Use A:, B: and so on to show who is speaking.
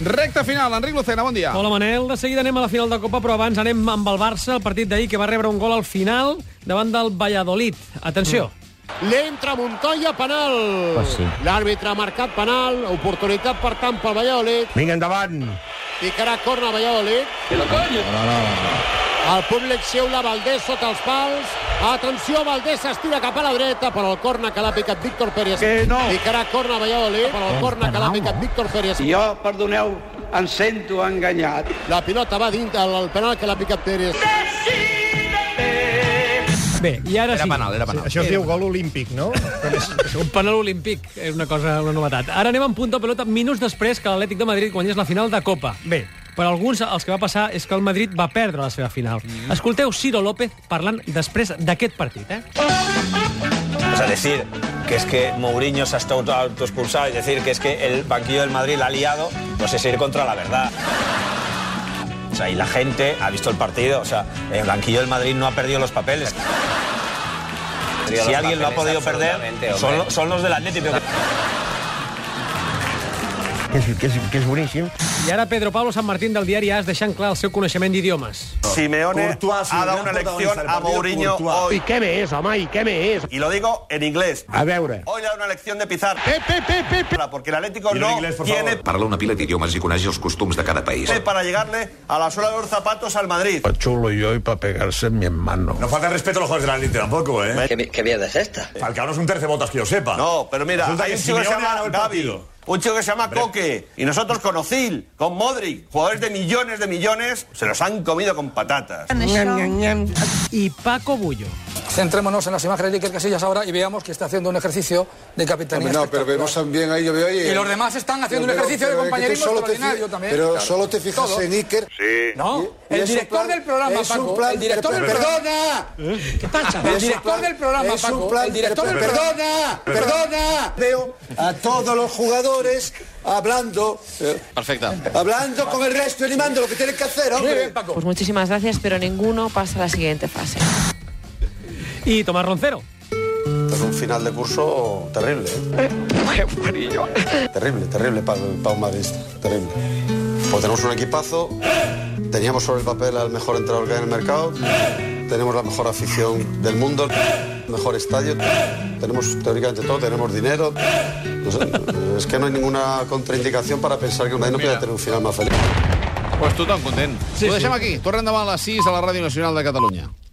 A: Recte final, Enric Lucena, bon dia.
B: Hola, Manel. De seguida anem a la final de Copa, però abans anem amb el Barça, el partit d'ahir que va rebre un gol al final davant del Valladolid. Atenció.
A: Mm.
C: Le entra Montoya, penal.
D: Pues Ah, sí.
C: L'àrbitre ha marcat penal, oportunitat per tant pel Valladolid.
D: Vinga, endavant.
C: Picarà corna Valladolid. El públic xiula Valdés sota els pals. Atenció, Valdés s'estira cap a la dreta, però el corna que l'ha picat Víctor Pérez.
E: Que no.
C: Picarà corna Valladolid, però el corna que l'ha picat Víctor Pérez.
E: Jo, perdoneu, em sento enganyat.
C: La pilota va dintre el penal que l'ha picat Pérez.
B: Bé, i ara sí.
A: era penal.
D: Això es diu gol olímpic, no?
B: Un penal olímpic és una cosa, una novetat. Ara anem en punta pelota minuts després que l'Atlètic de Madrid guanyés la final de Copa.
D: Bé.
B: Per alguns, els que va passar és que el Madrid va perdre la seva final.
A: Mm.
B: Escolteu Ciro López parlant després d'aquest partit, eh?
F: O sea, decir que es que Mourinho se ha estado autoexpulsado y decir que es que el banquillo del Madrid la ha liado, pues es ir contra la verdad. O sea, y la gente ha visto el partido. O sea, el banquillo del Madrid no ha perdido los papeles. Si alguien lo ha podido perder, son, lo- son los del Atlético.
D: que, és, que, és, que és boníssim.
B: I ara Pedro Pablo San Martín del diari AS deixant clar el seu coneixement d'idiomes.
F: Simeone ha dado una lección a Mourinho hoy.
C: I què més, home, i què més?
F: Y lo digo en inglés.
D: A veure.
F: Hoy le ha dado una lección de Pizarro.
C: Pepe, Pepe,
F: Porque el Atlético
D: Dilo en
F: no
D: inglés, por
F: tiene
G: Parla una pila d'idiomes i coneix els costums de cada país.
F: para llegarle a la suela de los zapatos al Madrid.
H: chulo yo y para pegarse en mi hermano.
I: No falta respeto a los jugadores del Atleti tampoco, ¿eh?
E: Que, que mierda es esta?
I: Falcao no es un tercebotas que yo sepa.
F: No, pero mira,
I: Resulta
F: hay
I: que
F: un chico que se
I: Simeone ha
F: llama
I: ganado el
F: Gavi,
I: partido.
F: un chico que se llama Coque, y nosotros con Ozil, con Modric, jugadores de millones de millones, se los han comido con patatas.
B: I Paco Bullo.
J: Centrémonos en las imágenes de Iker Casillas ahora y veamos que está haciendo un ejercicio de capitanía.
H: No, pero vemos también ahí, yo veo ahí.
J: Y los demás están haciendo un ejercicio de compañerismo extraordinario también.
H: Pero
J: Claro.
H: solo te fijas
J: Todo.
H: en Iker.
J: No,
H: Y- y
J: el
H: es un
J: director
H: plan-
J: del programa,
H: es
J: Paco.
H: un plan
J: el director
H: de-
J: del programa.
H: ¡Perdona!
B: Què passa?
J: El
H: Es un
J: director
H: plan-
J: del programa,
H: es un
J: Paco.
H: plan
J: El
H: de-
J: director del
H: Perdona,
J: programa.
H: ¡Perdona! Veo a todos los jugadores hablando. Perfecta. Hablando con el resto y animando lo que tienen que hacer, hombre.
K: Pues muchísimas gracias, pero ninguno pasa a la siguiente fase.
B: I Tomás Roncero.
F: Es un final de curso terrible. ¿eh? terrible, terrible para, un madridista. Terrible. Pues tenemos un equipazo, teníamos sobre el papel al mejor entrenador que hay en el mercado, tenemos la mejor afición del mundo, el mejor estadio, tenemos teóricamente todo, tenemos dinero. No sé, es que no hay ninguna contraindicación para pensar que un Madrid no pueda tener un final más feliz.
A: Doncs pues tothom content. Sí, Ho deixem aquí. Tornem demà a les 6 a la Ràdio Nacional de Catalunya.